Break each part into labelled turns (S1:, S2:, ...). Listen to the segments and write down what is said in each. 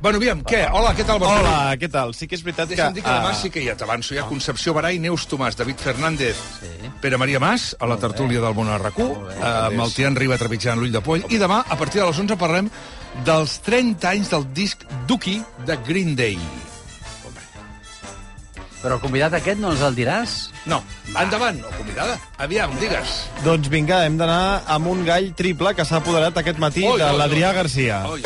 S1: Bueno, aviam, què? Hola, què tal, Barcelona?
S2: Hola, què tal? Sí que és veritat
S1: Deixa'm dir que demà
S2: ah,
S1: sí que ja t'avanço. Hi ha Concepció Barai, Neus Tomàs, David Fernández, Pere Maria Mas, a la tertúlia del Món RQ, amb el Tian Riba trepitjant l'ull de poll, i demà, a partir de les 11, parlem dels 30 anys del disc Duki de Green Day.
S3: Però el convidat aquest no ens el diràs?
S1: No, endavant, o convidada. Aviam, digues.
S2: Doncs vinga, hem d'anar amb un gall triple que s'ha apoderat aquest matí
S1: Oi,
S2: de
S1: oi,
S2: l'Adrià
S1: oi.
S2: Garcia.
S1: Oi.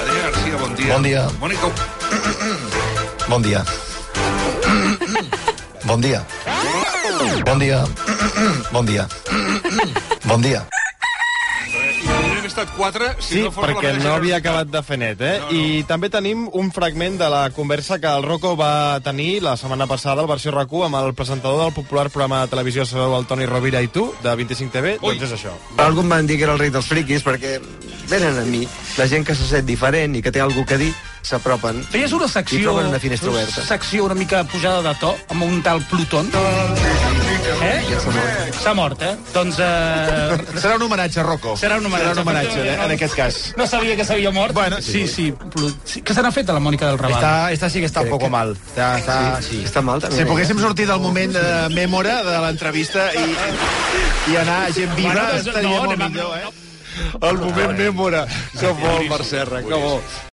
S1: Adrià Garcia, bon dia.
S4: Bon dia.
S1: Mònica...
S4: Bon dia. Bon dia. Bon dia. Bon dia. Bon dia.
S1: Hauríem eh, estat quatre si
S2: Sí,
S1: no fos
S2: perquè
S1: la
S2: no havia acabat de fer net, eh?
S1: No, no.
S2: I també tenim un fragment de la conversa que el Rocco va tenir la setmana passada al versió rac amb el presentador del popular programa de televisió Sabeu, el Toni Rovira i tu, de 25TV.
S1: Ui.
S2: Doncs és això.
S5: Algú em van dir que era el rei dels friquis perquè venen a mi la gent que se sent diferent i que té alguna que dir, s'apropen.
S6: Feies una
S5: I
S6: secció...
S5: troben una finestra oberta.
S6: secció una mica pujada de to, amb un tal Pluton. Eh? S'ha mort, eh? Doncs... Eh...
S4: Serà un homenatge a Rocco.
S6: Serà un homenatge.
S4: Serà un homenatge, eh, en aquest cas.
S6: No sabia que s'havia mort.
S4: Bueno,
S6: sí, sí. Plu- sí. Què se n'ha fet de la Mònica del Raval?
S4: Está, esta sí que está un poco mal. Está, está, sí.
S5: Està mal, també.
S4: Si poguéssim sortir del moment de mèmora de l'entrevista i, i anar a gent
S6: Bueno,
S4: viva, bueno,
S6: doncs,
S4: estaria
S6: no,
S4: no, molt
S6: anem a-
S4: millor, eh?
S1: El moment mèmora. Que bo, el Mercè, que bo.